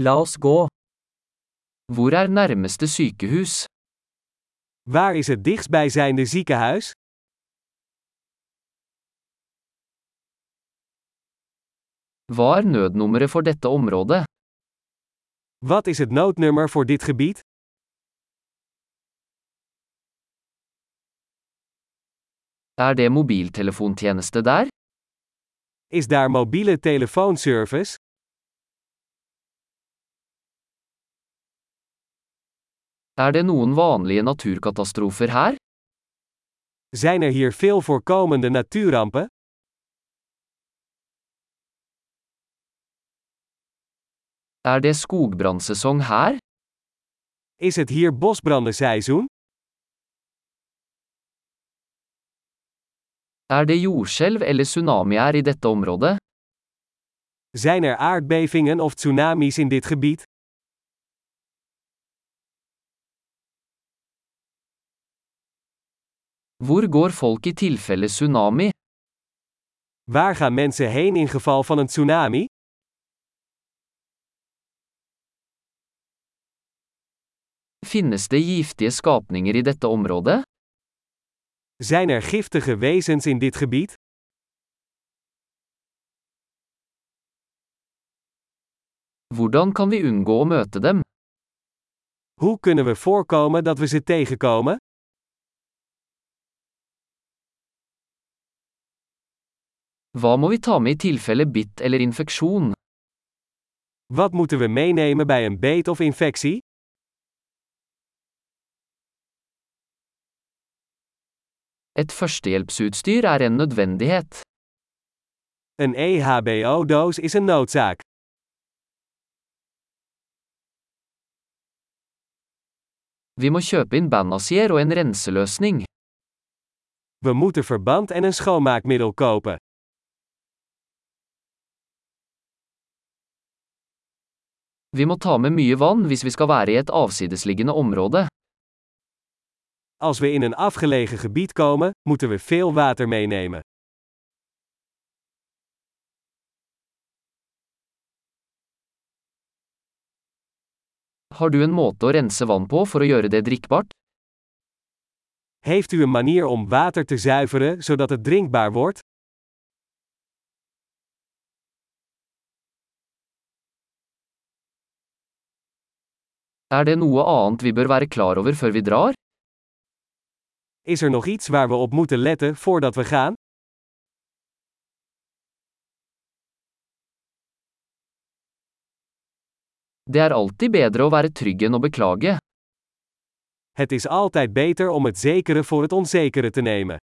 La oss gå. Hvor er nærmeste sykehus? Waar is het dichtstbijzijnde ziekenhuis? Hva er nødnummeret for dette området? Wat is het noodnummer voor dit gebied? Er det mobiltelefontjeneste der? Is daar mobiele telefoonservice? Er det noen vanlige naturkatastrofer her? Zijn er hier veel voorkomende natuurrampen? Er det skogbrannsesong her? Is het hier bosbrandenseizoen? Er det jordskjelv eller tsunami her i dette området? Zijn er aardbevingen of tsunamis in dit gebied? Hvor går folk i tilfelle tsunami? Waar gaan mensen heen in geval van een tsunami? Finnes det giftige skapninger i dette området? Zijn er giftige wezens in dit gebied? Hvordan kan vi unngå å møte dem? Hoe kunnen we voorkomen dat we ze tegenkomen? Hva må vi ta med i tilfelle bitt eller infeksjon? Wat moeten we meenemen bij een beet of infectie? Et førstehjelpsutstyr er en nødvendighet. Een E EHBO-doos is een noodzaak. Vi må kjøpe inn bandasier og en renseløsning. We moeten verband en een schoonmaakmiddel kopen. Vi må ta med mye vann hvis vi skal være i et avsidesliggende område. Als we in een afgelegen gebied komen, moeten we veel water meenemen. Har du en måte å rense vann på for å gjøre det drikkbart? Heeft u een manier om water te zuiveren zodat het drinkbaar wordt? Er det noe annet vi bør være klar over før vi drar? Is er nog iets waar we op moeten letten voordat we gaan? Det er alltid bedre å være trygg enn å beklage. Het is altijd beter om het zekere voor het onzekere te nemen.